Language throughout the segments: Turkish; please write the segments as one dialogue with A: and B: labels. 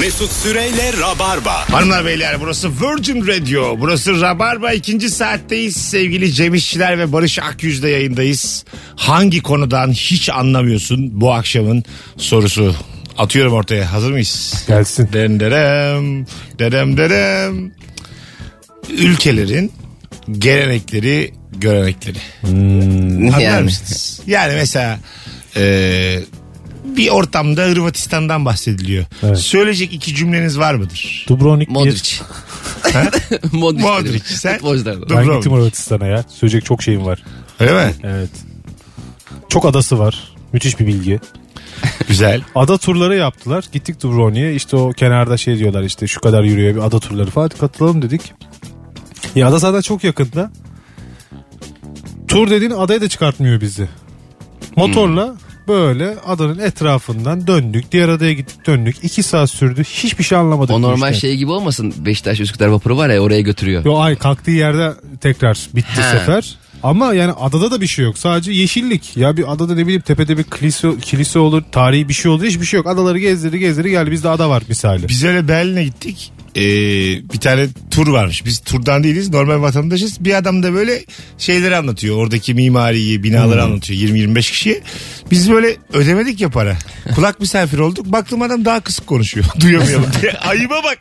A: Mesut Süreyle Rabarba.
B: Hanımlar beyler burası Virgin Radio. Burası Rabarba ikinci saatteyiz. Sevgili Cem İşçiler ve Barış Akyüz'de yayındayız. Hangi konudan hiç anlamıyorsun bu akşamın sorusu? Atıyorum ortaya. Hazır mıyız?
C: Gelsin.
B: Den derem, derem derem. Ülkelerin gelenekleri, görenekleri. Anlar
D: Yani.
B: mısınız? Yani mesela e, bir ortamda Hırvatistan'dan bahsediliyor. Söyleyecek iki cümleniz var mıdır?
C: Dubrovnik
D: Modric. Modric.
B: Modric, sen-
D: Futbolculardan.
C: Ben
B: Dubrovnik.
C: gittim Hırvatistan'a ya. Söyleyecek çok şeyim var.
B: Öyle mi?
C: Evet. Çok adası var. Müthiş bir bilgi.
B: Güzel.
C: Ada turları yaptılar. Gittik Dubrovnik'e. İşte o kenarda şey diyorlar işte şu kadar yürüyor bir ada turları falan. Hadi katılalım dedik. Ya ada zaten çok yakında. Tur dediğin adaya da çıkartmıyor bizi. Motorla böyle adanın etrafından döndük. Diğer adaya gittik döndük. İki saat sürdü. Hiçbir şey anlamadık.
D: O
C: bu
D: normal
C: işten.
D: şey gibi olmasın. Beşiktaş Üsküdar vapuru var ya oraya götürüyor.
C: Yo ay kalktığı yerde tekrar bitti
D: He.
C: sefer. Ama yani adada da bir şey yok. Sadece yeşillik. Ya bir adada ne bileyim tepede bir kilise, kilise olur, tarihi bir şey olur. Hiçbir şey yok. Adaları gezdirdi gezdirdi geldi. Bizde ada var misali.
B: Biz öyle Berlin'e gittik. Ee, bir tane tur varmış. Biz turdan değiliz. Normal vatandaşız. Bir adam da böyle şeyleri anlatıyor. Oradaki mimariyi, binaları anlatıyor. 20-25 kişiye. Biz böyle ödemedik ya para. Kulak misafir olduk. Baktım adam daha kısık konuşuyor. Duyamayalım diye. Ayıba bak.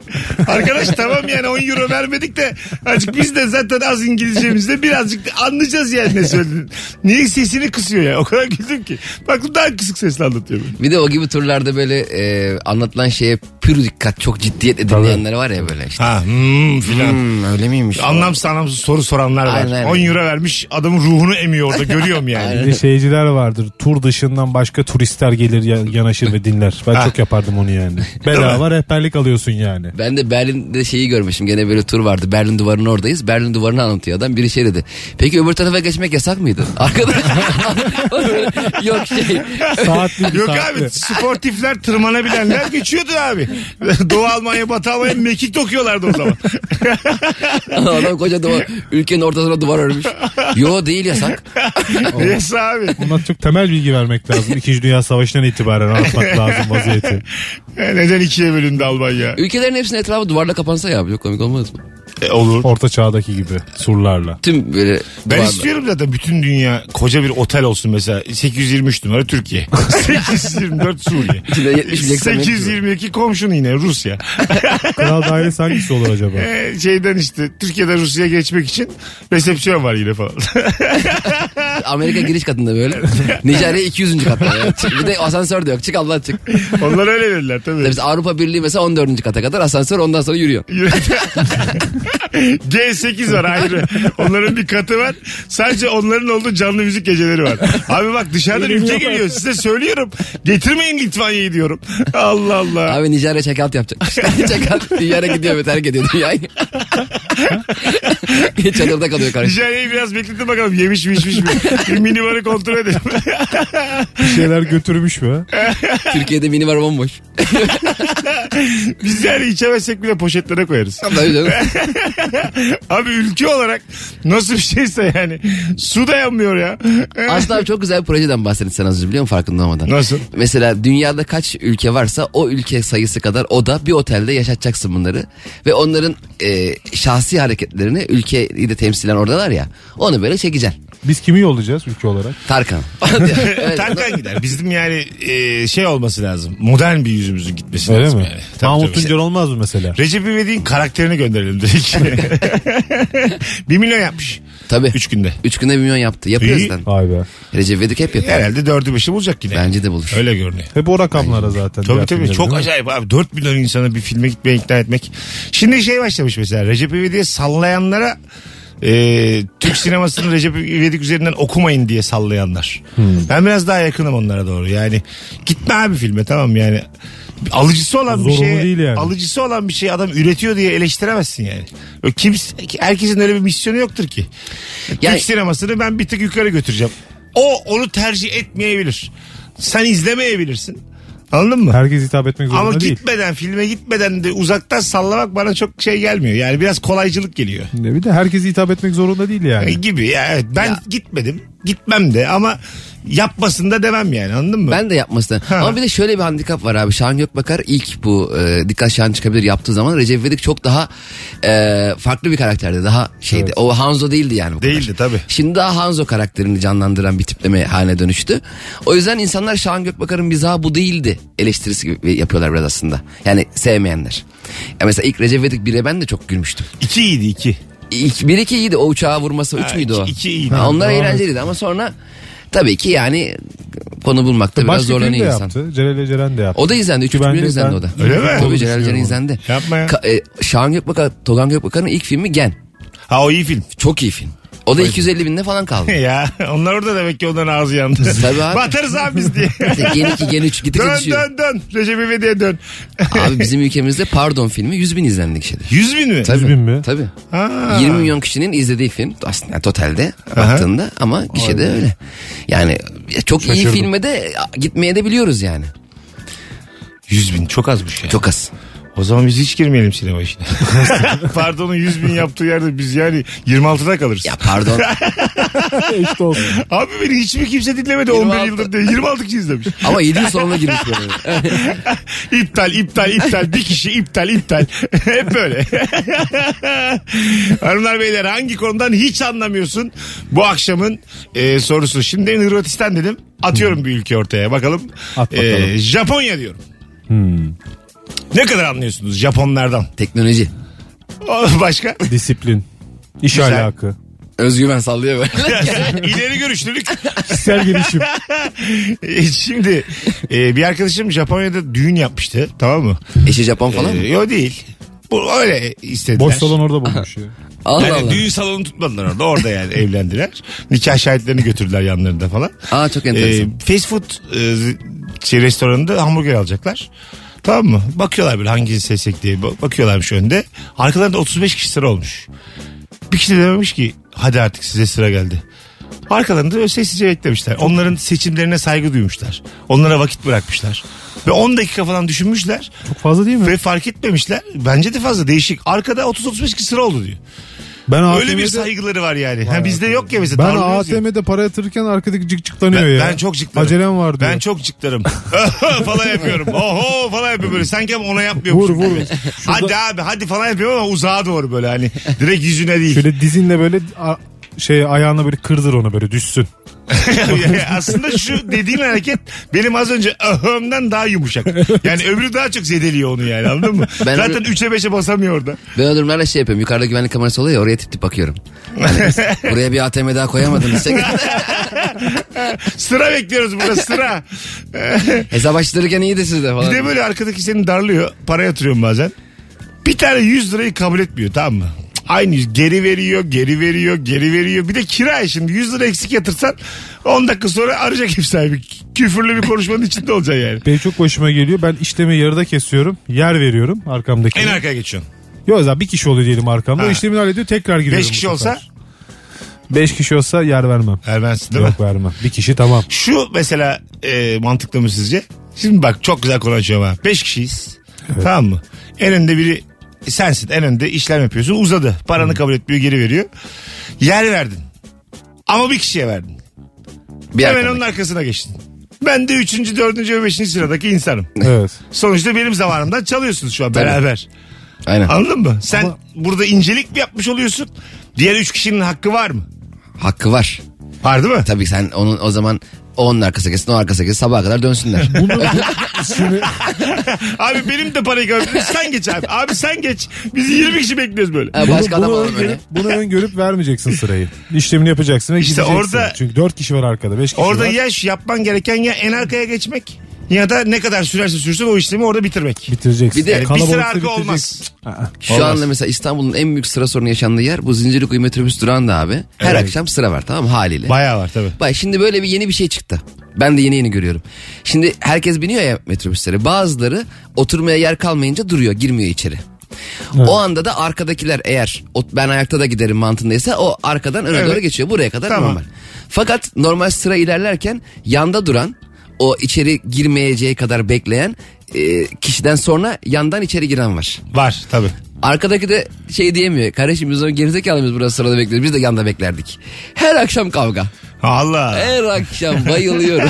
B: Arkadaş tamam yani 10 euro vermedik de azıcık biz de zaten az İngilizcemizde birazcık da anlayacağız yani ne söylediğini. Niye sesini kısıyor ya? O kadar güldüm ki. Baktım daha kısık sesle anlatıyor.
D: Bir de o gibi turlarda böyle e, anlatılan şeye pür dikkat çok ciddiyetle dinleyenler var ya böyle işte.
B: Ha hmm, filan.
D: Hmm, öyle miymiş?
B: Anlamsız anlamsız soru soranlar var.
D: Aynen.
B: 10 euro vermiş adamın ruhunu emiyor orada görüyorum yani.
C: Bir de şeyciler vardır. Tur dışından başka turistler gelir ya- yanaşır ve dinler. Ben çok yapardım onu yani. Bedava rehberlik alıyorsun yani.
D: Ben de Berlin'de şeyi görmüşüm. Gene böyle tur vardı. Berlin duvarının oradayız. Berlin duvarını anlatıyor adam. Biri şey dedi. Peki öbür tarafa geçmek yasak mıydı? Arkadaş. Yok şey.
C: Saatli bir
B: Yok
C: saatli.
B: abi sportifler tırmanabilenler geçiyordu abi. Doğu Almanya Batı Almanya mekik dokuyorlardı o zaman.
D: Adam koca duvar. Ülkenin ortasına duvar örmüş. Yo değil yasak.
B: yes abi.
C: Bundan çok temel bilgi vermek lazım. İkinci Dünya Savaşı'ndan itibaren anlatmak lazım vaziyeti.
B: E, Neden ikiye bölündü Almanya?
D: Ülkelerin hepsinin etrafı duvarla kapansa ya. Çok komik olmaz mı?
B: E, olur.
C: Orta çağdaki gibi surlarla.
D: Tüm böyle
B: Ben
D: duvarla.
B: istiyorum zaten bütün dünya koca bir otel olsun mesela. 823 numara Türkiye. 824 Suriye.
D: İçinde 70 bilek samet
B: 822 komşun yine Rusya.
C: Kral dairesi hangisi olur acaba?
B: Ee, şeyden işte Türkiye'den Rusya'ya geçmek için resepsiyon var yine falan.
D: Amerika giriş katında böyle. Nijerya 200. katta. ya. Bir de asansör de yok. Çık Allah çık.
B: Onlar öyle verirler tabii.
D: Biz Avrupa Birliği mesela 14. kata kadar asansör ondan sonra yürüyor.
B: G8 var ayrı. Onların bir katı var. Sadece onların olduğu canlı müzik geceleri var. Abi bak dışarıdan ülke geliyor. Size söylüyorum. Getirmeyin Litvanya'yı diyorum. Allah Allah.
D: Abi Nijerya çekalt yapacak. çekalt Nijerya gidiyor ve terk ediyor dünyayı. Çadırda kalıyor kardeşim.
B: Nijerya'yı biraz bekletin bakalım. Yemiş mi içmiş mi? Bir minibarı kontrol edelim.
C: Bir şeyler götürmüş mü?
D: Türkiye'de minibar bomboş.
B: Biz yani içemezsek bile poşetlere koyarız.
D: Tabii canım.
B: Abi ülke olarak nasıl bir şeyse yani. Su dayanmıyor ya.
D: Aslında abi çok güzel bir projeden bahsettin sen az önce biliyor musun farkında olmadan.
B: Nasıl?
D: Mesela dünyada kaç ülke varsa o ülke sayısı kadar o da bir otelde yaşatacaksın bunları. Ve onların e, şahsi hareketlerini ülkeyi de temsilen oradalar ya onu böyle çekeceksin.
C: Biz kimi yollayacağız ülke olarak?
D: Tarkan. Evet,
B: Tarkan gider. Bizim yani e, şey olması lazım. Modern bir yüzümüzün gitmesi
C: Öyle
B: lazım
C: mi?
B: yani. Tabii,
C: Mahmut
B: tabii.
C: Tuncer olmaz mı mesela?
B: Recep İvedik'in karakterini gönderelim dedik. bir milyon yapmış.
D: Tabii.
B: Üç günde.
D: Üç günde bir milyon yaptı. Yapıyor
B: İyi.
D: zaten.
C: Vay be.
D: Recep İvedik hep yapıyor.
B: Herhalde dördü beşi bulacak yine.
D: Bence de bulur.
B: Öyle görünüyor.
C: Hep o rakamlara zaten.
B: Tabii
C: diğer
B: tabii
C: filmleri,
B: çok
C: değil mi?
B: acayip abi 4 milyon insana bir filme gitmeye ikna etmek. Şimdi şey başlamış mesela Recep İvedik'e sallayanlara e, Türk sinemasını Recep İvedik üzerinden okumayın diye sallayanlar.
C: Hmm.
B: Ben biraz daha yakınım onlara doğru yani gitme abi filme tamam yani alıcısı olan bir
C: Zorunlu
B: şey
C: değil yani.
B: alıcısı olan bir şey adam üretiyor diye eleştiremezsin yani. Ö, Kimse, herkesin öyle bir misyonu yoktur ki.
D: Yani-
B: Türk sinemasını ben bir tık yukarı götüreceğim. O onu tercih etmeyebilir. Sen izlemeyebilirsin. Anladın mı?
C: Herkes hitap etmek zorunda
B: Ama
C: değil.
B: gitmeden filme gitmeden de uzaktan sallamak bana çok şey gelmiyor. Yani biraz kolaycılık geliyor.
C: Ne Bir de herkes hitap etmek zorunda değil yani.
B: Gibi ya evet ben gitmedim. Gitmem de ama yapmasın da demem yani anladın mı?
D: Ben de yapmasına.
B: Ha.
D: Ama bir de şöyle bir handikap var abi. Şahan Gökbakar ilk bu e, Dikkat Şahan çıkabilir yaptığı zaman Recep İvedik çok daha e, farklı bir karakterdi. Daha şeydi. O Hanzo değildi yani. bu kadar.
B: Değildi tabii.
D: Şimdi daha Hanzo karakterini canlandıran bir tipleme haline dönüştü. O yüzden insanlar Şahan Gökbakar'ın mizahı bu değildi eleştirisi gibi yapıyorlar biraz aslında. Yani sevmeyenler. Ya mesela ilk Recep İvedik 1'e ben de çok gülmüştüm.
B: İki iyiydi iki.
D: İlk, bir iki iyiydi o uçağa vurması. Üç
B: Ha,
D: müydü
B: iki-
D: o?
B: iki iyiydi.
D: Ha, onlar
C: Doğru.
D: eğlenceliydi ama sonra tabii ki yani konu bulmakta
C: Başka
D: biraz
C: film de
D: zorlanıyor insan.
C: yaptı. Celal Eceren de yaptı.
D: O da izlendi. 3
C: Ki ben
D: milyon
C: de-
D: izlendi
C: ben-
D: o da.
B: Öyle mi?
D: Tabii
B: Doğru
D: Celal Can
C: düşünüyorum.
D: izlendi.
B: Yapma ya.
D: Ka- e, Şahan Gökbakar, Togan Gökbakar'ın ilk filmi Gen.
B: Ha o iyi film.
D: Çok iyi film. O da 250 binde falan kaldı.
B: ya onlar orada demek ki onların ağzı yandı.
D: Tabii abi. şey
B: Batarız abi biz diye.
D: Gen 2, Gen 3 gittikçe
B: dön
D: düşüyor.
B: dön dön. Recep İvedik'e dön.
D: Abi bizim ülkemizde Pardon filmi 100 bin izlendi kişide.
B: 100 bin mi?
D: Tabii.
C: 100 bin mi?
D: Tabii.
B: Ha.
D: 20 milyon kişinin izlediği film aslında yani totalde baktığında ama kişide öyle. Yani ya çok iyi
C: Şaşırdım.
D: filme de a, gitmeye de biliyoruz yani.
B: 100 bin çok azmış ya.
D: Çok az.
B: O zaman biz hiç girmeyelim sinema işine. Pardon'un 100 bin yaptığı yerde biz yani 26'da kalırız.
D: Ya pardon.
C: işte olsun.
B: Abi beni hiç mi kimse dinlemedi 11
D: 26.
B: yıldır diye. 26 kişi izlemiş.
D: ama 7 yıl sonra girmiş böyle.
B: İptal, iptal, iptal. Bir kişi iptal, iptal. Hep böyle. Hanımlar beyler hangi konudan hiç anlamıyorsun bu akşamın e, sorusu. Şimdi demin Hırvatistan dedim. Atıyorum bir ülke ortaya bakalım.
C: Hmm. At bakalım. Hmm.
B: E, Japonya diyorum. Ne kadar anlıyorsunuz Japonlardan?
D: Teknoloji.
B: O Başka?
C: Disiplin. İş
B: Güzel.
C: alakı.
D: Özgüven sallıyor böyle.
B: İleri görüşlülük.
C: Kişisel gelişim.
B: E, Şimdi e, bir arkadaşım Japonya'da düğün yapmıştı tamam mı?
D: Eşi Japon falan mı?
B: E, Yok değil. Bu öyle istediler.
C: Boş salon orada bulmuş ya.
D: Allah
B: Yani
D: Allah.
B: düğün salonu tutmadılar orada. Orada yani evlendiler. Nikah şahitlerini götürdüler yanlarında falan.
D: Aa çok
B: Ee,
D: enteresan.
B: fast food e, z- şey, restoranında hamburger alacaklar. Tamam mı? Bakıyorlar böyle hangisini seçsek diye. Ba- Bakıyorlarmış önde. Arkalarında 35 kişi sıra olmuş. Bir kişi de dememiş ki hadi artık size sıra geldi. Arkalarında böyle sessizce beklemişler. Onların seçimlerine saygı duymuşlar. Onlara vakit bırakmışlar. Ve 10 dakika falan düşünmüşler.
C: Çok fazla değil mi?
B: Ve fark etmemişler. Bence de fazla değişik. Arkada 30-35 kişi sıra oldu diyor.
C: Ben
B: Öyle bir
C: ATM'de
B: saygıları var yani. Ha, bizde yok ya mesela.
C: Ben
B: davranıyoruz ya.
C: ATM'de para yatırırken arkadaki cık cıklanıyor
B: Ben,
C: ya.
B: ben çok cıklarım.
C: Acelem var diyor.
B: Ben çok cıklarım. falan yapıyorum. Oho falan yapıyorum böyle. Sanki ama ona yapmıyormuş.
C: Vur vur.
B: Hadi abi hadi falan yapıyorum ama uzağa doğru böyle hani. Direkt yüzüne değil.
C: Şöyle dizinle böyle a- şey ayağına böyle kırdır onu böyle düşsün.
B: Yani Aslında şu dediğin hareket benim az önce ahımdan daha yumuşak. Yani öbürü daha çok zedeliyor onu yani anladın mı?
D: Ben
B: Zaten
D: öbür-
B: 3'e 5'e basamıyor orada.
D: Ben o durumlarda şey yapıyorum. Yukarıda güvenlik kamerası oluyor ya oraya tip tip bakıyorum. Hani biz buraya bir ATM daha koyamadınız.
B: Sıra bekliyoruz burada sıra.
D: Hesap açtırırken iyiydi sizde
B: Bir
D: falan.
B: de böyle arkadaki seni darlıyor. Para yatırıyorum bazen. Bir tane 100 lirayı kabul etmiyor tamam mı? Aynı yüz. geri veriyor, geri veriyor, geri veriyor. Bir de kira şimdi 100 lira eksik yatırsan 10 dakika sonra arayacak ev sahibi. Küfürlü bir konuşmanın içinde olacaksın yani.
C: Benim çok başıma geliyor. Ben işlemi yarıda kesiyorum. Yer veriyorum arkamdaki.
B: En arkaya geçiyorsun.
C: Yok zaten bir kişi oluyor diyelim arkamda.
B: Ha.
C: O işlemini hallediyor tekrar giriyorum.
B: 5 kişi olsa
C: 5 kişi olsa yer vermem.
B: vermezsin değil mi?
C: Yok vermem. Bir kişi tamam.
B: Şu mesela e, mantıklı mı sizce? Şimdi bak çok güzel konuşuyorum ha. 5 kişiyiz. Tamam mı? En önde biri sensin. En önde işlem yapıyorsun. Uzadı. Paranı kabul etmiyor geri veriyor. Yer verdin. Ama bir kişiye verdin.
D: Bir
B: Hemen
D: arkadaki.
B: onun arkasına geçtin. Ben de 3. 4. ve 5. sıradaki insanım.
C: Evet.
B: Sonuçta benim zamanımdan çalıyorsunuz şu an
D: Tabii.
B: beraber.
D: Aynen.
B: Anladın mı? Sen
C: Ama-
B: burada incelik mi yapmış oluyorsun? Diğer 3 kişinin hakkı var mı?
D: Hakkı var.
B: Var değil mi?
D: Tabii sen onun o zaman o onun arkası kesin o arkası kesin sabaha kadar dönsünler.
B: Abi benim de parayı kabul Sen geç abi. Abi sen geç. Biz 20 kişi bekliyoruz böyle.
D: Ha, Başka adam
C: bunu,
D: olur böyle.
C: öngörüp, bunu öngörüp vermeyeceksin sırayı. İşlemini yapacaksın ve
B: İşte
C: gideceksin.
B: orada-
C: Çünkü 4 kişi var arkada. 5 kişi
B: Orada
C: var.
B: ya şu yapman gereken ya en arkaya geçmek ya da ne kadar sürerse sürsün o işlemi orada bitirmek.
C: bitireceksin.
D: Bir de-
B: Yani bir
C: Kalabalıkta
B: sıra arka
C: bitireceksin.
B: olmaz.
C: Ha.
D: Şu
B: Olmaz.
D: anda mesela İstanbul'un en büyük sıra sorunu yaşandığı yer bu Zincirlikuyu metrobüs durağında abi. Her
B: Evet.
D: akşam sıra var tamam mı? haliyle.
B: Bayağı var tabii.
D: Bak şimdi böyle bir yeni bir şey çıktı. Ben de yeni yeni görüyorum. Şimdi herkes biniyor ya metrobüslere. Bazıları oturmaya yer kalmayınca duruyor, girmiyor içeri. O anda da arkadakiler eğer o- ben ayakta da giderim mantığındaysa o arkadan öne
B: Evet.
D: doğru geçiyor. Buraya kadar
B: Tamam.
D: normal. Fakat normal sıra ilerlerken yanda duran o içeri girmeyeceği kadar bekleyen e, kişiden sonra yandan içeri giren var.
B: Var tabii.
D: Arkadaki de şey diyemiyor. Kardeşim biz onu gerizekalı mıyız burası sırada bekliyoruz. Biz de yanda beklerdik. Her akşam kavga.
B: Allah.
D: Her akşam bayılıyorum.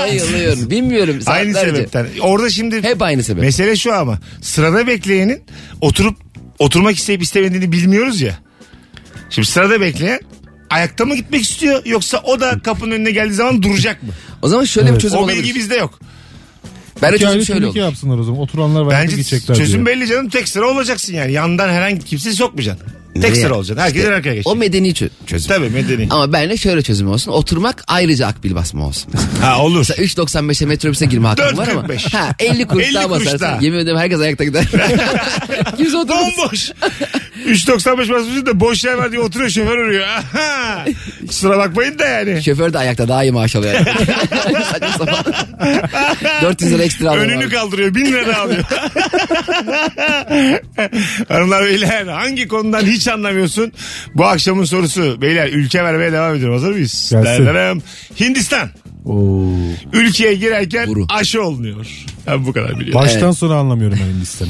D: bayılıyorum. Bilmiyorum.
B: Aynı
D: saatlerce.
B: sebepten. Orada şimdi
D: Hep aynı sebep.
B: mesele şu ama sırada bekleyenin oturup oturmak isteyip istemediğini bilmiyoruz ya. Şimdi sırada bekleyen ayakta mı gitmek istiyor yoksa o da kapının önüne geldiği zaman duracak mı?
D: o zaman şöyle bir çözüm
B: O
D: olabilir.
B: bilgi bizde yok.
D: Ben de çözüm
C: Hikayeli
D: şöyle
C: turnike
D: olur.
C: yapsınlar o zaman. Oturanlar var.
B: Bence
C: gidecekler
B: çözüm
C: diye.
B: belli canım tek sıra olacaksın yani. Yandan herhangi kimseyi sokmayacaksın. Tek
D: Nereye?
B: sıra olacaksın. Herkes
D: İşte
B: arkaya
D: O
B: geçecek.
D: medeni çö- çözüm.
B: Tabii medeni.
D: Ama ben de şöyle çözüm olsun. Oturmak ayrıca akbil basma olsun.
B: Ha olur.
D: Mesela 3.95'e metrobüse girme hakkım var ama.
B: 4.45.
D: Ha, 50 kuruş
B: 50
D: daha
B: kuruş
D: basarsın.
B: daha.
D: Yemin ediyorum herkes ayakta gider. Kimse oturmaz.
B: Bomboş. 3.95 basmışsın da boş yer var diye oturuyor şoför arıyor. Aha. Kusura bakmayın da yani.
D: Şoför de ayakta daha iyi maaş alıyor. yani. Saçma sapan. 400 lira ekstra alıyor.
B: Önünü
D: abi.
B: kaldırıyor. Bin lira da alıyor. Hanımlar beyler hangi konudan hiç anlamıyorsun? Bu akşamın sorusu. Beyler ülke vermeye devam ediyorum. Hazır mıyız?
C: Gelsin.
B: Derlerim. Hindistan.
C: Oo.
B: Ülkeye girerken
D: Vuru.
B: aşı olunuyor. Ben bu kadar biliyorum.
C: Baştan sona anlamıyorum ben Hindistan'ı.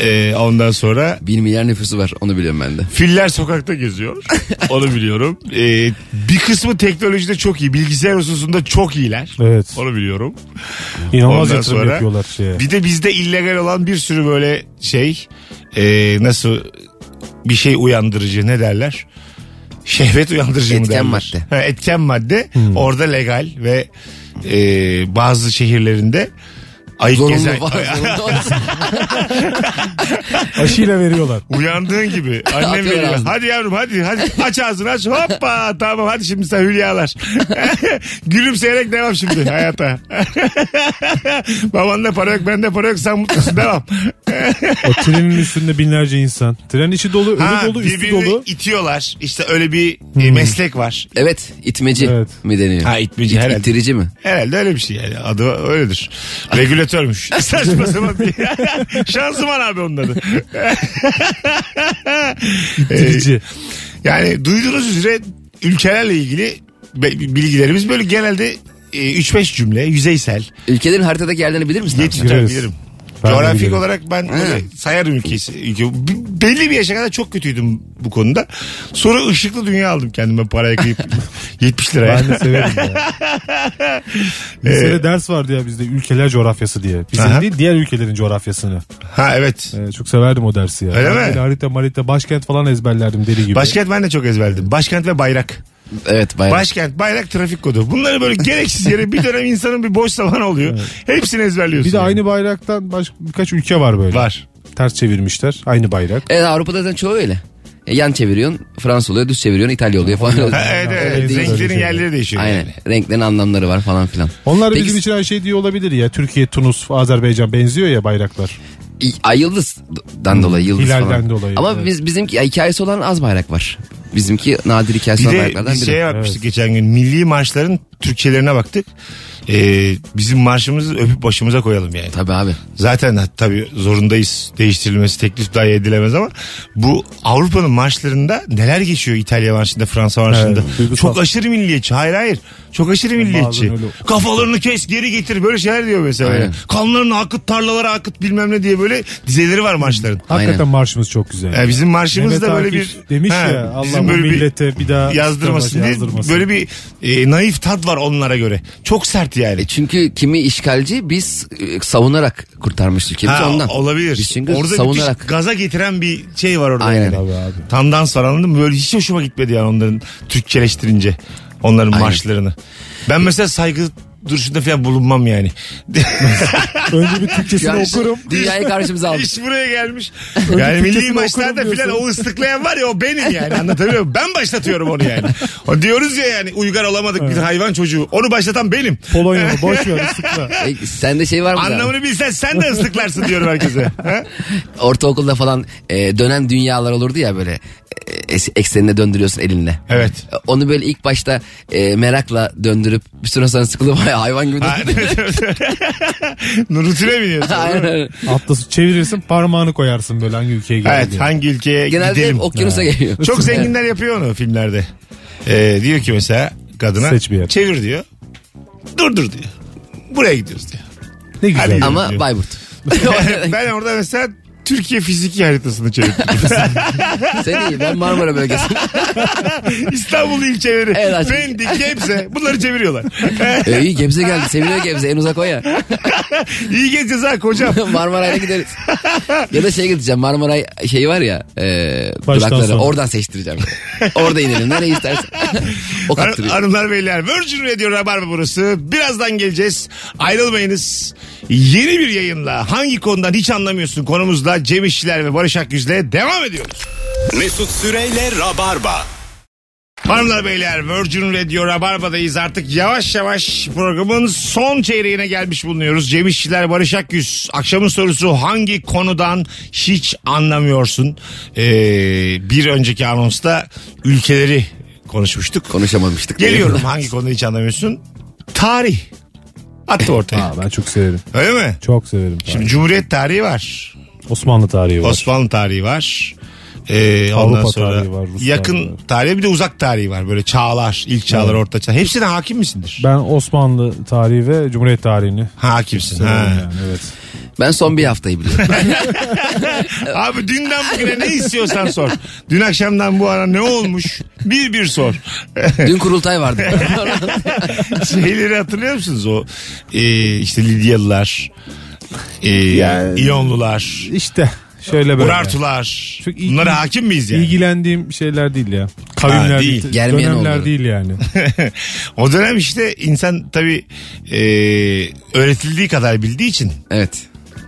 B: Ee, ondan sonra
D: 1 milyar nüfusu var onu biliyorum ben de.
B: Filler sokakta geziyor. Onu biliyorum. Ee, bir kısmı teknolojide çok iyi. Bilgisayar hususunda çok iyiler.
C: Evet.
B: Onu biliyorum.
C: İnanılmaz
B: Ondan
C: yatırım
B: sonra-
C: yapıyorlar şeye.
B: Bir de bizde illegal olan bir sürü böyle şey e, nasıl bir şey uyandırıcı ne derler? Şehvet uyandırıcı mı
D: Etken
B: derler?
D: madde.
B: Ha, etken madde. Orada legal ve e, bazı şehirlerinde ayık
D: Zorunlu
B: gezen.
D: var. zorunlu olsun.
C: Aşıyla veriyorlar.
B: Uyandığın gibi. Annem
D: Atıyor
B: veriyor.
D: ağzını.
B: Hadi yavrum hadi. hadi. Aç ağzını aç. Hoppa. Tamam hadi şimdi sen hülyalar. Gülümseyerek devam şimdi hayata. Babanda para yok bende para yok sen mutlusun devam.
C: O trenin üstünde binlerce insan. Tren içi dolu, önü
B: Ha,
C: dolu, üstü
B: birbirini
C: dolu. Hmm.
B: itiyorlar. İşte öyle bir e, meslek var.
D: evet itmeci
C: Evet.
D: mi deniyor?
B: Ha, itmeci, herhalde.
D: İttirici mi?
B: Herhalde öyle bir şey yani. Adı öyledir. Regülatörmüş. Saçma sapan bir- Şanzıman abi onun adı. E, Ee,
C: İtici.
B: Yani duyduğunuz üzere ülkelerle ilgili be- bilgilerimiz böyle genelde e, 3-5 cümle yüzeysel.
D: Ülkelerin haritadaki yerlerini bilir misin? abi?
B: Yetiş tabii
C: Gireriz.
B: bilirim.
C: Ben de
B: Coğrafik
C: bilirim.
B: olarak ben böyle sayarım ülkesi. Ülke. B- Belli bir yaşa kadar çok kötüydüm bu konuda. Sonra ışıklı dünya aldım kendime paraya kıyıp 70 liraya.
C: Ben de severim ya. Lisede ders vardı ya bizde ülkeler coğrafyası diye. Bizim
B: Aha.
C: değil diğer ülkelerin coğrafyasını.
B: Ha evet.
C: Ee, çok severdim o dersi ya.
B: Öyle
C: Ben
B: mi?
C: böyle harita marita başkent falan ezberlerdim deli gibi.
B: Başkent ben de çok ezberledim. Başkent ve bayrak.
D: Evet bayağı.
B: Başkent, bayrak, trafik kodu. Bunları böyle gereksiz yere bir dönem insanın bir boş zamanı oluyor. Hepsini ezberliyorsun.
C: Bir de
B: yani.
C: aynı bayraktan baş, birkaç ülke var böyle.
B: var.
C: Ters çevirmişler aynı bayrak.
D: Evet E, Avrupa'da zaten çoğu öyle. E, Yan çeviriyorsun Fransa oluyor düz çeviriyorsun İtalya oluyor falan.
B: Ha, evet,
C: Aynen.
B: evet.
C: Öyle değil. Öyle
B: Renklerin
C: şey.
B: yerleri değişiyor.
D: Aynen. Renklerin anlamları var falan filan.
C: Onlar da
D: Peki-
C: bizim için her şey diye olabilir ya. Türkiye, Tunus, Azerbaycan benziyor ya bayraklar.
D: İ- Ay yıldızdan dolayı yıldız
C: hilalden
D: falan.
C: dolayı,
D: Ama
C: evet.
D: biz bizimki ya, hikayesi olan az bayrak var. Bizimki nadir hikayesi
B: Bir
D: olan
B: de
D: bayraklardan
B: bir
D: biri.
B: şey yapmıştık geçen gün. Milli marşların Türkçelerine baktık. Ee, bizim marşımızı öpüp başımıza koyalım yani.
D: Tabii abi.
B: Zaten ha- tabii zorundayız değiştirilmesi teklif dahi edilemez ama bu Avrupa'nın marşlarında neler geçiyor İtalya marşında Fransa marşında
C: Evet, duygusal.
B: çok aşırı milliyetçi hayır hayır çok aşırı milliyetçi
C: öyle-
B: kafalarını kes geri getir böyle şeyler diyor mesela
D: Aynen.
B: Yani. kanlarını akıt tarlalara akıt bilmem ne diye böyle dizeleri var marşların.
C: Hakikaten
D: Aynen.
C: marşımız çok güzel.
B: Yani bizim marşımızda
C: Mehmet
B: böyle bir
C: Akif demiş
B: Ha,
C: ya Allah
B: bizim
C: bu
B: böyle bir-
C: millete bir daha
B: yazdırmasın diye
C: yazdırmasın.
B: böyle bir e, naif tat var onlara göre çok sert yani.
D: E çünkü kimi işgalci biz e, savunarak kurtarmış ülkemizi
B: Ha,
D: ondan.
B: olabilir.
D: Biz çünkü
B: orada
D: savunarak.
B: müthiş gaza getiren bir şey var orada.
D: Aynen.
C: Tabii abi.
B: Tandans var anladın mı? Böyle hiç hoşuma gitmedi yani onların Türkçeleştirince. Onların
D: Aynen.
B: marşlarını. Ben mesela saygı duruşunda falan bulunmam yani.
C: Önce bir Türkçesini
D: Yani
C: okurum.
D: Dünyayı karşımıza aldık.
B: İş buraya gelmiş. Yani milli
C: Türkçesini
B: maçlarda
C: okurum
B: filan
C: diyorsun.
B: o ıslıklayan var ya o benim yani anlatabiliyor muyum? Ben başlatıyorum onu yani. O diyoruz ya yani uygar olamadık bir hayvan çocuğu. Onu başlatan benim.
C: Polonya'nı boş ver ıslıkla.
D: E, sende şey var mı? abi?
B: Anlamını bilsen sen de ıslıklarsın diyorum herkese. Ha?
D: Ortaokulda falan e, dönen dünyalar olurdu ya böyle e, es- eksenine döndürüyorsun elinle.
B: Evet.
D: E, Onu böyle ilk başta e, merakla döndürüp bir süre sonra sıkılıp hayvan gibi
B: Ha, evet, evet. Rutine biniyorsun.
D: Aynen.
C: Atlası çevirirsin parmağını koyarsın böyle hangi ülkeye geldi.
B: Evet hangi ülkeye
D: Genelde
B: gidelim.
D: hep okyanusa geliyor.
B: Çok zenginler yapıyor onu filmlerde. Ee, diyor ki mesela kadına
C: Seç bir yer.
B: çevir diyor. Dur dur diyor. Buraya gidiyoruz diyor.
C: Ne güzel.
B: Hadi.
D: Ama Bayburt.
B: ben orada mesela Türkiye fiziki haritasını çevirdim.
D: Sen iyi ben Marmara bölgesinde.
B: İstanbul ilçeleri.
D: Evet, aç-
B: Pendik, Gebze. Bunları çeviriyorlar.
D: ee, iyi Gebze geldi. Seviniyor Gebze. En uzak o ya.
B: İyi gezeceğiz ha kocam.
D: Marmaray'a gideriz. ya da şey gideceğim. Marmaray şey var ya. E,
C: Baştan
D: durakları.
C: sona.
D: Oradan seçtireceğim. Orada inelim. Nereye istersen. o
B: Har-
D: kaptırıyor.
B: Hanımlar beyler Virgin Radio Rabarba burası. Birazdan geleceğiz. Ayrılmayınız. Yeni bir yayınla hangi konudan hiç anlamıyorsun konumuzla Cem İşçiler ve Barış Akgüz'le devam ediyoruz.
A: Mesut Süreyle Rabarba.
B: Hanımlar beyler Virgin Radio Rabarba'dayız artık yavaş yavaş programın son çeyreğine gelmiş bulunuyoruz. Cem İşçiler Barış Akgüz akşamın sorusu hangi konudan hiç anlamıyorsun? Ee, bir önceki anonsta ülkeleri konuşmuştuk.
D: Konuşamamıştık.
B: Geliyorum hangi konuyu hiç anlamıyorsun? Tarih. Attı ortaya.
C: Aa, ben çok severim.
B: Öyle mi?
C: Çok severim. tarihi.
B: Şimdi Cumhuriyet tarihi var.
C: Osmanlı tarihi var.
B: Osmanlı tarihi var. Ee,
C: Avrupa
B: ondan sonra
C: tarihi var, Rus
B: yakın
C: tarihi
B: tarihi,
C: var.
B: bir de uzak tarihi var. Böyle çağlar, ilk çağlar, orta çağlar. Hepsine hakim misindir?
C: Ben Osmanlı tarihi ve Cumhuriyet tarihini
B: Ha, Hakimsin.
C: severim
B: Ha.
C: yani evet.
D: Ben son bir haftayı biliyorum.
B: Abi dünden bugüne ne istiyorsan sor. Dün akşamdan bu ara ne olmuş? Bir bir sor.
D: Dün kurultay vardı.
B: Şeyleri hatırlıyor musunuz o? Ee, işte Lidyalılar, ee, İyonlular,
C: İşte şöyle böyle.
B: Urartular.
C: Çok ilgi-
B: Bunlara hakim miyiz yani?
C: İlgilendiğim şeyler değil ya. Kavimler
B: Ha, değil.
C: değil.
D: Germiyan
C: dönemler
D: oldu.
C: değil yani.
B: o dönem işte insan tabii e, öğretildiği kadar bildiği için
D: evet.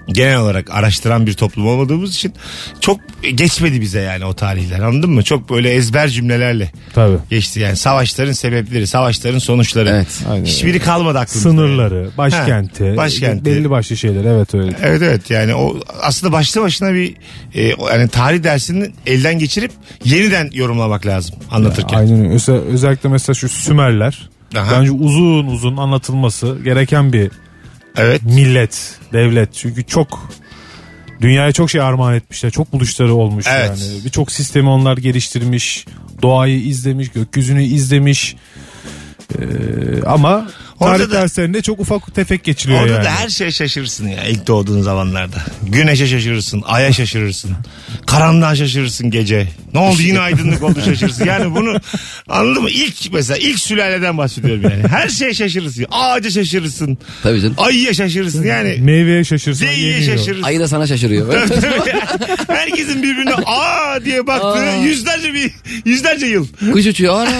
B: genel olarak araştıran bir toplum olmadığımız için çok geçmedi bize yani o tarihler anladın mı? Çok böyle ezber cümlelerle
C: Tabii.
B: geçti yani savaşların sebepleri, savaşların sonuçları.
D: Evet.
C: Aynen
B: Hiçbiri kalmadı aklımızda.
C: Sınırları, başkenti,
B: başkenti.
C: belli başlı şeyler evet öyle.
B: Evet evet yani o aslında başlı başına bir e, o- yani tarih dersini elden geçirip yeniden yorumlamak lazım anlatırken.
C: Aynen öyle. Öse- özellikle mesela şu Sümerler.
B: Aha.
C: Bence uzun uzun anlatılması gereken bir
B: Evet.
C: millet, devlet. Çünkü çok dünyaya çok şey armağan etmişler. Çok buluşları olmuş
B: Evet.
C: yani. Birçok sistemi onlar geliştirmiş. Doğayı izlemiş, gökyüzünü izlemiş. Ee, ama
B: Orada
C: tarih
B: da-
C: derslerinde çok ufak tefek geçiliyor
B: Orada
C: yani.
B: da her şeye şaşırırsın ya ilk doğduğun zamanlarda. Güneşe şaşırırsın, aya şaşırırsın. Karanlığa şaşırırsın gece. Ne oldu yine aydınlık oldu şaşırırsın. Yani bunu anladın mı? İlk mesela ilk sülaleden bahsediyorum yani. Her şeye şaşırırsın. Ağaca şaşırırsın.
D: Tabii canım.
B: Ayıya şaşırırsın yani.
C: Meyveye şaşırsan
B: Zeyiye
C: yeniyor.
B: şaşırırsın.
D: Ayı da sana şaşırıyor.
B: Herkesin birbirine aa diye baktığı
D: Aa.
B: yüzlerce bir yüzlerce yıl.
D: Kuş uçuyor. Ana.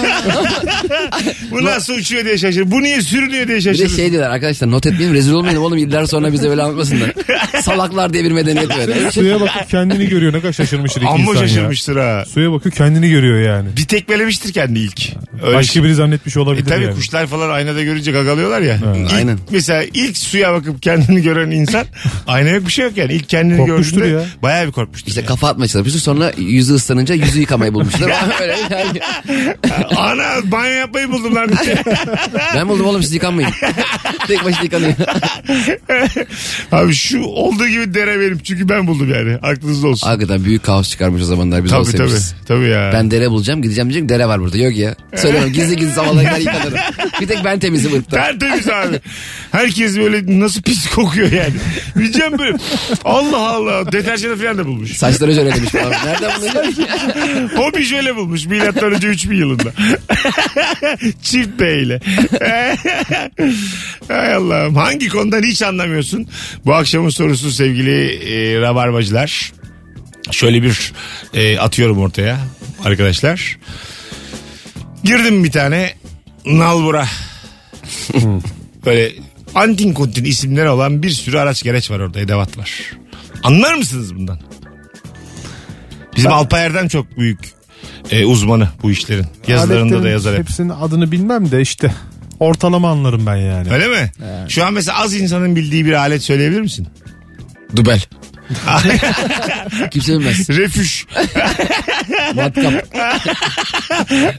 B: Bu nasıl uçuyor diye şaşırır. Bu niye sürünüyor diye
D: Bir de
B: şaşırır.
D: şey diyorlar arkadaşlar not etmeyelim rezil olmayalım oğlum yıllar sonra bize böyle anlatmasınlar. Salaklar diye bir medeniyet böyle.
C: Suya bakıp kendini görüyor ne kadar şaşırmıştır iki
B: Amma
C: insan ya.
B: şaşırmıştır ha.
C: Suya bakıyor kendini görüyor yani.
B: Bir tekmelemiştir kendi ilk. Öyle
C: Başka biri zannetmiş
B: E
C: olabilir
B: tabii
C: yani.
B: kuşlar falan aynada görünce gagalıyorlar ya. İlk-
D: Aynen.
B: Mesela ilk suya bakıp kendini gören insan aynaya yok bir şey yok yani. İlk kendini
C: Korkmuştur
B: gördüğünde
C: ya.
B: bayağı bir korkmuştur.
D: İşte kafa atmaya çalışmışlar sonra yüzü ıslanınca yüzü yıkamayı bulmuşlar. Böyle yani.
B: Ana banyo yapmayı buldum lan.
D: Ben buldum oğlum siz yıkanmayın. Tek başına yıkanıyor.
B: Abi şu olduğu gibi dere benim çünkü ben buldum yani. Aklınızda olsun.
D: Hakikaten büyük kaos çıkarmış o zamanlar biz
B: tabii tabii.
D: olsaymışız.
B: Tabii ya.
D: Ben dere bulacağım gideceğim diyeceğim dere var burada yok ya. Söylüyorum gizli gizli sabahlara kadar yıkanırım. Bir tek ben temizim ırkta.
B: Tertemiz abi. Herkes böyle nasıl pis kokuyor yani. Diyeceğim böyle Allah Allah deterjanı falan da bulmuş.
D: Saçları şöyle demiş falan. Nereden bunları?
B: Hobi şöyle bulmuş milattan önce 3000 yılında. Çift beyle. Hay Allah'ım hangi konudan hiç anlamıyorsun? Bu akşamın sorusu sevgili e, rabarbacılar. Şöyle bir e, atıyorum ortaya arkadaşlar. Girdim bir tane nalbura. Böyle antin kuntin isimleri olan bir sürü araç gereç var orada edevat var. Anlar mısınız bundan? Bizim Alpay Erdem çok büyük e, uzmanı bu işlerin. Yazılarında da
C: Aletlerin
B: yazar hep.
C: Hepsinin adını bilmem de işte ortalama anlarım ben yani.
B: Öyle mi? Şu an mesela az insanın bildiği bir alet söyleyebilir misin?
D: Dubel. Kimse bilmez.
B: Refüj.
D: Matkap.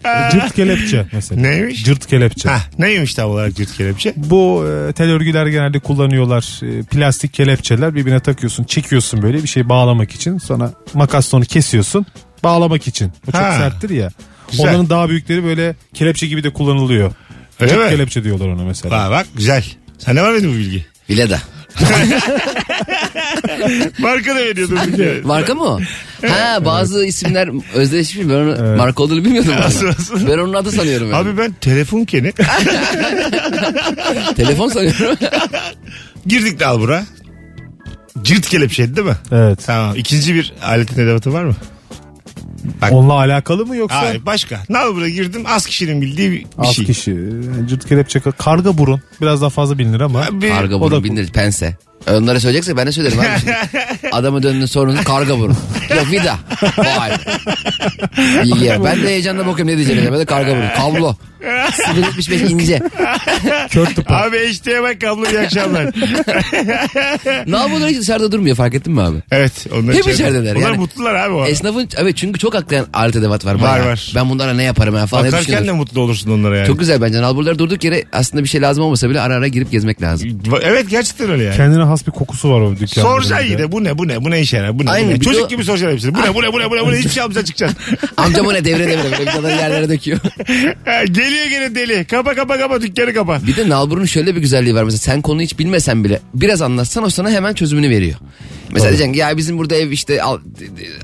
C: Hani Cırt kelepçe mesela.
B: Neymiş?
C: Cırt kelepçe.
B: Ha, neymiş tam olarak cırt kelepçe?
C: Bu e, tel örgüler genelde kullanıyorlar. E, plastik kelepçeler birbirine takıyorsun, çekiyorsun böyle bir şey bağlamak için. Sonra makasla onu kesiyorsun. Bağlamak için. O çok
B: Ha.
C: serttir ya.
B: Güzel.
C: Onların daha büyükleri böyle kelepçe gibi de kullanılıyor.
B: Öyle
C: Cırt
B: mi?
C: kelepçe diyorlar ona mesela.
B: Bak, bak güzel. Sende var mıydı bu bilgi?
D: Bile de.
B: Marka da veriyordu bir kere.
D: Marka mı o? Ha bazı isimler özdeşmiş. Ben onu marka olduğunu bilmiyordum. valla.
B: Nasıl, nasıl?
D: Ben onun adı sanıyorum. yani.
B: Abi ben telefon keni
D: Telefon sanıyorum.
B: girdik dal bura. Cırt kelepçeydi değil mi?
C: Evet.
B: Tamam. İkinci bir aletin edevatı var mı? Bak.
C: Onunla alakalı mı yoksa?
B: Hayır başka. Nalbura girdim az kişinin bildiği bir, bir
C: Az
B: şey.
C: kişi. Yani Cırt kelepçe karga burun. Biraz daha fazla bilinir ama.
B: Bir-
D: Karga
C: O da-
D: burun bindir pense. Onlara söyleyecekse ben de söylerim abi. şimdi. Adamı döndüğünü sorunuz karga burun. Yok vida. Vay. İyi ya. Ben de heyecanla bakıyorum ne diyeceğim. Ben de karga burun. Kablo. 0.75 ince.
C: Kör tıpa.
B: Abi HDMI kablo iyi akşamlar.
D: Namurlar hiç dışarıda durmuyor fark ettin mi abi?
B: evet. Onlar
D: Hep içerideler
B: Onlar
D: yani.
B: mutlular abi o.
D: Esnafın evet çünkü çok haklayan alet edevat var. bayağı.
B: var.
D: Ben bunlara ne yaparım ya falan. hep
B: Bakarken de
D: düşünüyorum.
B: mutlu olursun onlara yani.
D: Çok güzel bence. Nalburlar durduk yere aslında bir şey lazım olmasa bile ara ara girip gezmek lazım.
B: Evet gerçekten öyle yani.
C: Kendine has bir kokusu var o dükkanda.
B: Soracaksın yine bu ne bu ne bu ne işe yarar bu ne,
D: Aynen,
B: bu ne?
D: bir de
B: Çocuk
D: o-
B: gibi soracaksın hepsini. Bu ne bu ne bu ne bu ne bu ne hiçbir şey almayacaksın çıkacaksın.
D: Amcam o ne devre devre böyle bir kadar yerlere döküyor.
B: Ha, Geliyor gene deli. Kapa kapa kapa dükkanı kapa.
D: Bir de nalburun şöyle bir güzelliği var. Mesela sen konuyu hiç bilmesen bile biraz anlatsan o sana hemen çözümünü veriyor. Mesela diyeceksin ki, ya bizim burada ev işte al-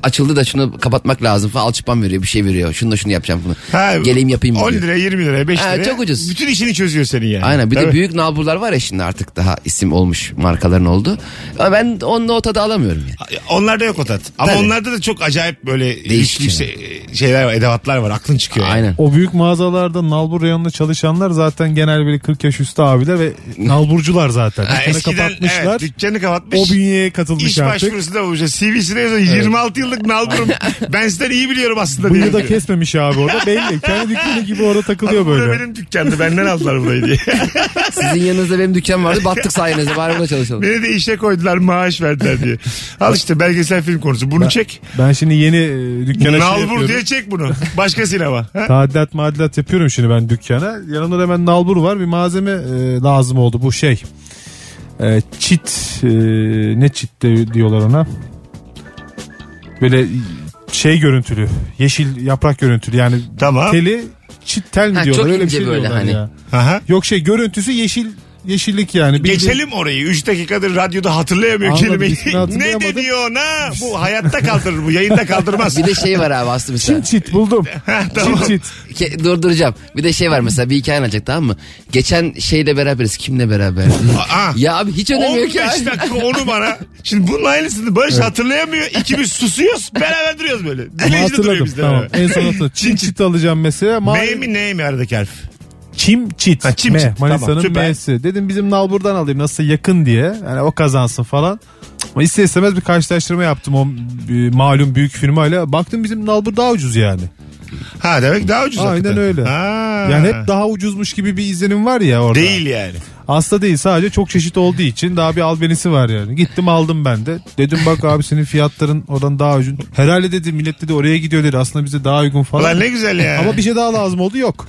D: açıldı da şunu kapatmak lazım falan alçıpan veriyor bir şey veriyor. Şunu da şunu yapacağım bunu.
B: Ha,
D: Geleyim yapayım
B: 10
D: diyor.
B: liraya 20 liraya 5
D: Ha,
B: liraya.
D: çok ucuz.
B: Bütün işini çözüyor senin yani.
D: Aynen bir de
B: Tabii.
D: büyük nalburlar var ya şimdi artık daha isim olmuş markaların oldu. Ama ben onunla o tadı alamıyorum yani.
B: Onlarda yok o tat. Ama
D: Tabii.
B: onlarda da çok acayip böyle
D: Değişik
B: Değişik şeyler var, edevatlar var. Aklın çıkıyor. yani.
D: Aynen.
C: O büyük mağazalarda nalbur reyonunda çalışanlar zaten genel böyle 40 yaş üstü abiler ve nalburcular zaten.
B: Ha,
C: Dükkanı
B: eskiden
C: kapatmışlar.
B: evet, dükkanı kapatmış.
C: O bünyeye katılmış
B: İş
C: artık.
B: başvurusunda bulacağız. CV'sine yazıyor. 26 yıllık nalburum. ben sizden iyi biliyorum aslında. diye
C: Bıyığı da
B: yazıyor.
C: kesmemiş abi orada belli. Kendi dükkanı gibi orada takılıyor
B: Abi burada
C: böyle.
B: benim dükkandı. Benden aldılar burayı diye.
D: Sizin yanınızda benim dükkan vardı battık sayenizde bari burada çalışalım.
B: Beni de işe koydular maaş verdiler diye. Al işte belgesel film konusu. Bunu çek.
C: Ben şimdi yeni e, dükkana şey
B: Nalbur
C: yapıyorum.
B: diye çek bunu. Başka sinema. Ha?
C: Tadilat madilat yapıyorum şimdi ben dükkana. Yanımda da hemen nalbur var. Bir malzeme e, lazım oldu. Bu şey. E, çit. e, ne çit de, diyorlar ona. Böyle şey görüntülü. Yeşil yaprak görüntülü. Yani
B: Tamam.
C: teli çit tel mi
D: Ha,
C: diyorlar.
D: çok
C: Öyle bir
D: ince
C: şey
D: böyle
C: diyorlar
D: hani.
C: ya.
B: Aha.
C: Yok şey görüntüsü yeşil yeşillik yani. Bildiğin-
B: Geçelim orayı. 3 dakikadır radyoda hatırlayamıyor
C: Anladım,
B: kelimeyi.
C: ismini hatırlayamadım.
B: ne deniyor ona? Bu hayatta kaldırır bu. Yayında kaldırmaz.
D: Bir de şey var abi aslında mesela.
C: Çim çit buldum.
B: Tamam.
C: Çim çit.
D: Ke- durduracağım. Bir de şey var mesela bir hikaye anlatacak tamam mı? Geçen şeyle beraberiz. Kimle beraber?
B: Aa.
D: ya abi hiç ödemiyor
B: 15
D: ki. abi.
B: dakika onu bana. Şimdi bunun aynısını Barış hatırlayamıyor. İkimiz susuyoruz. Beraber duruyoruz böyle.
C: Ama
B: Dinleyici de duruyor
C: hatırladım
B: bizden.
C: tamam.
B: Tamam.
C: En son hatırladım. Çim çit alacağım mesela.
B: M
C: Mavi-
B: mi ne mi aradaki harf?
C: Çim çit.
B: Ha, çim
C: M.
B: çit. Tamam,
C: Manisa'nın
B: süper.
C: M'si. Dedim bizim Nalbur'dan alayım nasıl yakın diye. Yani o kazansın falan. Cık, Ama ister istemez bir karşılaştırma yaptım o e, malum büyük firmayla. Baktım bizim Nalbur daha ucuz yani.
B: Ha demek daha ucuz.
C: Aynen
B: hakikaten.
C: öyle.
B: Ha.
C: Yani hep daha ucuzmuş gibi bir izlenim var ya orada.
B: Değil yani.
C: Aslında değil sadece çok çeşit olduğu için daha bir albenisi var yani. Gittim aldım ben de. Dedim bak abi senin fiyatların oradan daha ucuz. Herhalde dedim millet dedi oraya gidiyor dedi aslında bize daha uygun falan.
B: Ulan ne güzel ya.
C: Ama bir şey daha lazım oldu yok.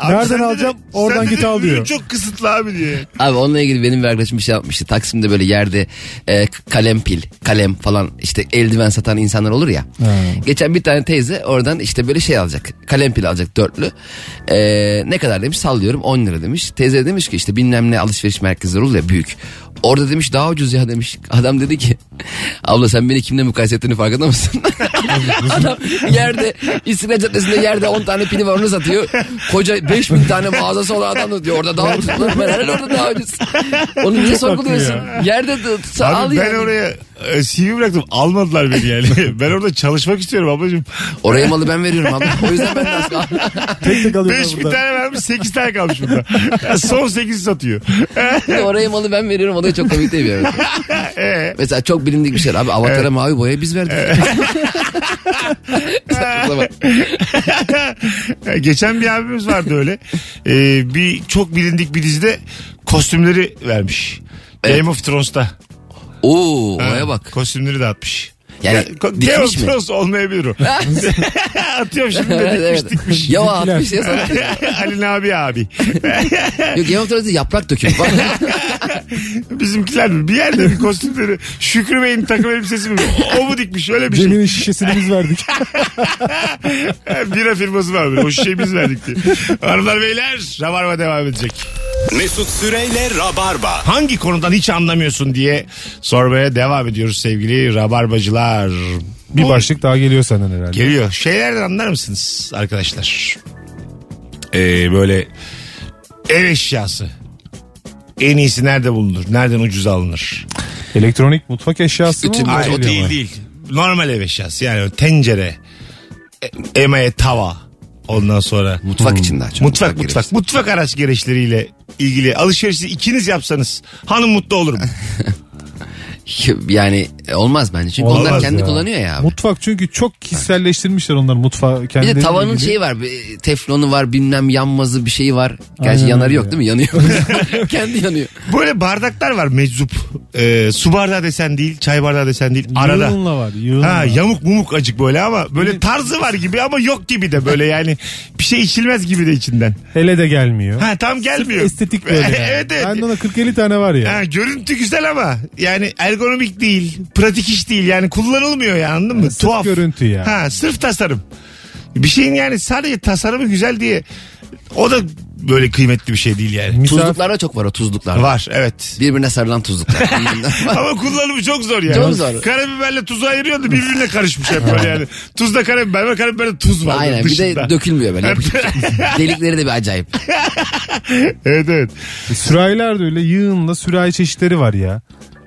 B: Abi
C: Nereden
B: sen de-
C: alacağım?
B: sen
C: Oradan
B: de
C: git
B: de
C: al diyor.
B: ürün Çok kısıtlı abi diyor.
D: Abi onunla ilgili benim bir arkadaşım bir şey yapmıştı. Taksim'de böyle yerde e, k- kalem pil, kalem falan işte eldiven satan insanlar olur ya. Geçen bir tane teyze oradan işte böyle şey alacak. Kalem pil alacak dörtlü. E, ne kadar demiş sallıyorum 10 lira demiş. Teyze demiş ki işte bilmem ne alışveriş merkezleri olur ya büyük. Orada demiş daha ucuz ya demiş. Adam dedi ki abla sen beni kimle mukayese ettiğini farkında mısın? Adam yerde İstinye Caddesi'nde yerde 10 tane pili var onu satıyor. Koca 5000 tane mağazası olan adam da diyor orada daha ucuz. Lan Ben herhalde orada daha ucuz. Onu niye sorguluyorsun? Yerde de tutsa al
B: Abi ben
D: yani.
B: oraya e, CV bıraktım. Almadılar beni yani. ben orada çalışmak istiyorum ablacığım.
D: Oraya malı ben veriyorum abi. O yüzden ben de az kaldım.
C: Tek tek alıyorum
B: Beş
C: ben
B: bir
C: buradan.
B: tane vermiş 8 tane kalmış burada. Son 8 satıyor.
D: Oraya malı ben veriyorum. O da çok komik değil bir yer.
B: Ee?
D: Mesela çok bilindik bir şey. Abi avatara mavi boya biz verdik. Saçmalama.
B: Geçen bir abimiz vardı öyle. Ee, bir çok bilindik bir dizide kostümleri vermiş. Game of Thrones'ta.
D: Oo,
B: Ha,
D: oraya bak.
B: Kostümleri dağıtmış.
D: Yani
B: Ya, ko- Game of
D: dikmiş mi?
B: Thrones olmayabilir o. Atıyorum şimdi de
D: Evet,
B: dikmiş
D: evet.
B: dikmiş.
D: Ya o atmış ya sana.
B: Ali Nabi abi.
D: Yok Game of Thrones'da yaprak döküyor. Bak.
B: Bizimkiler mi? Bir yerde bir kostümleri. Şükrü Bey'in takım elbisesi mi? O mu dikmiş? Öyle bir şey.
C: Cemil'in şişesini biz verdik.
B: Bira firması var. böyle. O şişeyi biz verdik diye. Hanımlar beyler. Rabarba devam edecek.
A: Mesut Süreyle Rabarba.
B: Hangi konudan hiç anlamıyorsun diye sormaya devam ediyoruz sevgili rabarbacılar.
C: Bir
B: Bu-
C: başlık daha geliyor senden herhalde.
B: Geliyor. Şeylerden anlar mısınız arkadaşlar? Ee, böyle ev eşyası. En iyisi nerede bulunur? Nereden ucuz alınır?
C: Elektronik mutfak eşyası mı?
D: Bütün-
C: Bunlar
B: Hayır o
C: geliyor
B: değil
C: ama.
B: değil. Normal ev eşyası yani tencere, e- emaye tava ondan sonra.
D: Mutfak için daha çok.
B: Mutfak
D: gerekiyor.
B: mutfak mutfak araç gereçleriyle ilgili alışverişi ikiniz yapsanız hanım mutlu olur mu?
D: Yani e, olmaz bence. Çünkü
C: Olmaz
D: onlar kendi
C: ya.
D: kullanıyor ya abi.
C: Mutfak çünkü çok kişiselleştirmişler onlar mutfağı
D: Bir
C: kendileri.
D: de tavanın
C: ilgili.
D: şeyi var. bir Teflonu var bilmem yanmazı bir şeyi var. Gerçi
C: Aynen
D: yanarı
C: öyle
D: yok
C: ya.
D: değil mi? Yanıyor. Kendi yanıyor.
B: Böyle bardaklar var meczup. Ee, su bardağı desen değil, çay bardağı desen değil. Arada.
C: Yığınla var yığınla.
B: Ha yamuk mumuk acık böyle ama böyle tarzı var gibi ama yok gibi de böyle yani bir şey içilmez gibi de içinden.
C: Hele de gelmiyor.
B: Ha tam gelmiyor.
C: Estetik böyle. yani.
B: evet evet.
C: Ben de ona 40-50 tane var ya.
B: Ha, görüntü güzel ama yani ergonomik değil, pratik iş değil yani kullanılmıyor ya anladın mı?
C: sırf
B: Tuhaf.
C: görüntü ya.
B: Ha, sırf tasarım. Bir şeyin yani sadece tasarımı güzel diye o da böyle kıymetli bir şey değil yani.
C: Misaf-
D: Tuzluklarda çok var o tuzluklar.
B: Var evet.
D: Birbirine sarılan tuzluklar. Bilmem ne.
B: Ama kullanımı çok zor yani.
D: Çok zor.
B: Karabiberle tuzu ayırıyordu birbirine karışmış hep böyle yani. Tuzda karabiber ve karabiberle tuz var.
D: Aynen bir de dökülmüyor böyle. Delikleri de bir acayip.
B: evet evet.
C: Sürahiler de öyle yığınla sürahi çeşitleri var ya.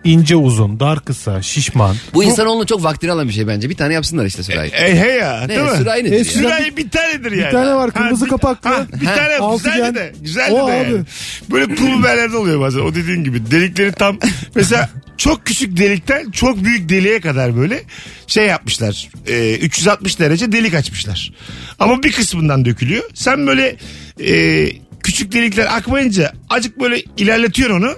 C: İnce uzun, dar kısa, şişman.
D: Bu insanoğlunun çok vaktini alan bir şey bence. Bir tane yapsınlar işte Sürahi.
B: E, he ya
D: Ne,
B: değil mi?
D: sürahi nedir
C: E,
D: ya?
C: sürahi-
B: Sürahi bir tanedir yani.
C: tane var, kırmızı
B: bir-
C: kapaklı.
B: Ha, bir
D: Ha.
B: tane güzeldi
C: Altıgen.
B: de. Güzeldi
C: O
B: de
C: abi.
B: yani. Böyle pul biberlerde oluyor bazen. O dediğin gibi. Delikleri tam. Mesela çok küçük delikten çok büyük deliğe kadar böyle şey yapmışlar. E, 360 derece delik açmışlar. Ama bir kısmından dökülüyor. Sen böyle e, küçük delikler akmayınca acık böyle ilerletiyorsun onu.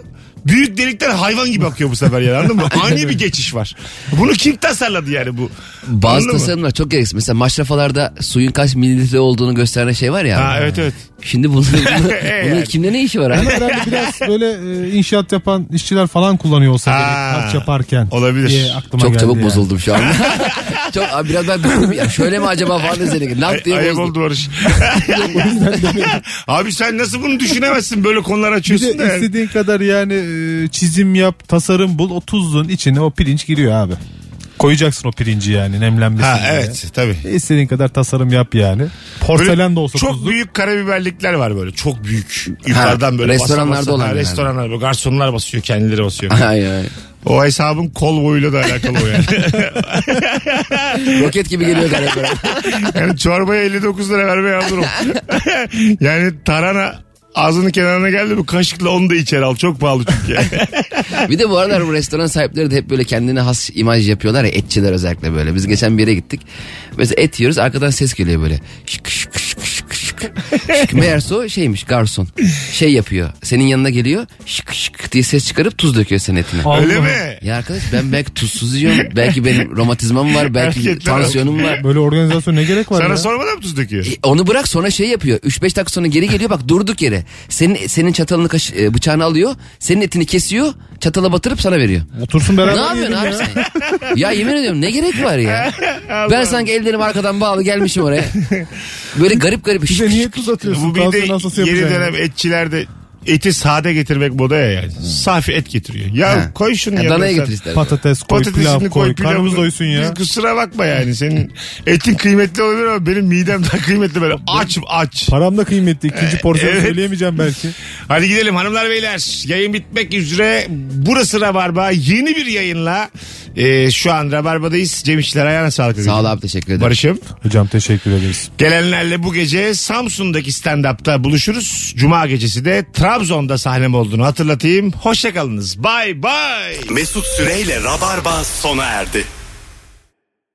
B: Büyük delikler hayvan gibi akıyor bu sefer yani anladın mı? Ani bir geçiş var. Bunu kim tasarladı yani bu?
D: Bazı
B: Anladın mı?
D: tasarımlar çok gereksiz. Mesela maşrafalarda suyun kaç mililitre olduğunu gösteren şey var ya.
B: Ha evet evet.
D: Şimdi bunun, bunun,
B: Yani.
D: bunun kimde ne işi var abi?
C: Herhalde biraz böyle e, inşaat yapan işçiler falan kullanıyor olsa
B: Ha,
C: gerek harç yaparken.
B: olabilir.
C: Diye aklıma
D: Çok
C: geldi
D: çabuk
C: yani.
D: bozuldum şu an. çok abi biraz ben düşündüm ya şöyle mi acaba falan üzerine. Laf diye
B: Ayıp
D: bozdum.
B: oldu Barış. Abi sen nasıl bunu düşünemezsin böyle konular
C: Bir
B: açıyorsun da.
C: de
B: yani.
C: istediğin kadar yani e, çizim yap, tasarım bul. O tuzluğun içine o pirinç giriyor abi. Koyacaksın o pirinci yani nemlenmesin
B: Ha
C: diye.
B: evet tabii.
C: İstediğin kadar tasarım yap yani. Porselen
B: Böyle
C: de olsa
B: çok
C: tuzluk.
B: büyük karabiberlikler var böyle çok büyük yukarıdan böyle basa
D: restoranlarda
B: basa-
D: olan
B: ha,
D: yani.
B: restoranlar böyle garsonlar basıyor kendileri basıyor
D: Ay, ay.
B: o hesabın kol boyuyla da alakalı o yani.
D: Roket gibi geliyor galiba.
B: yani çorbaya 59 lira vermeye hazırım yani tarhana ağzının kenarına geldi bu kaşıkla onu da içeri al çok pahalı çünkü
D: bir de bu aralar bu restoran sahipleri de hep böyle kendine has imaj yapıyorlar ya etçiler özellikle böyle. Biz geçen bir yere gittik. Mesela et yiyoruz arkadan ses geliyor böyle. Şık şık şık şık şık. şık. Meğerse o şeymiş garson. Şey yapıyor. Senin yanına geliyor. Şık şık diye ses çıkarıp tuz döküyor senin etine.
C: Allah.
B: öyle mi
D: Ya arkadaş ben belki tuzsuz yiyorum. belki benim romatizmam var. Belki
B: Erkekler-
D: tansiyonum var.
C: Böyle organizasyon ne gerek var
B: sana
C: ya?
B: sormadan mı tuz döküyor
D: E, Onu bırak sonra şey yapıyor. 3-5 dakika sonra geri geliyor bak durduk yere. Senin senin çatalını kaşı- e, bıçağını alıyor. Senin etini kesiyor. Çatala batırıp sana veriyor.
C: Otursun
D: Ne
C: beraber
D: yapıyorsun
C: yiyelim
D: abi
C: ya.
D: sen? Ya yemin ediyorum ne gerek var ya? ben sanki ellerim arkadan bağlı gelmişim oraya. Böyle garip garip.
C: Bize niye tuz atıyorsun?
B: Bu bir
C: Tansiyon hastası
B: de yeni
C: yapacaksın.
B: dönem etçilerde eti sade getirmek modaya yani. Safi et getiriyor. Ya
D: Hmm. Ha.
B: koy şunu
D: Ya
B: ya.
D: danaya getir istersen.
C: Patates koy, pilav koy, karnımız doysun ya.
B: Kusura bakma yani senin etin kıymetli olabilir ama benim midem daha kıymetli böyle açım aç.
C: Param da kıymetli. İkinci porsiyonu
B: E, evet.
C: söyleyemeyeceğim belki.
B: Hadi gidelim hanımlar beyler. Yayın bitmek üzere. Burası Rabarba. Yeni bir yayınla e, şu an Rabarba'dayız. Cem İşçiler ayağına sağlık.
D: Sağ ol
B: dedim.
D: abi teşekkür ederim.
B: Barış'ım.
C: Hocam teşekkür ederiz.
B: Gelenlerle bu gece Samsun'daki stand-up'ta buluşuruz. Cuma gecesi de Trabzon'da sahnem olduğunu hatırlatayım. Hoşçakalınız. Bay bay.
A: Mesut Süreyle Rabarba sona erdi.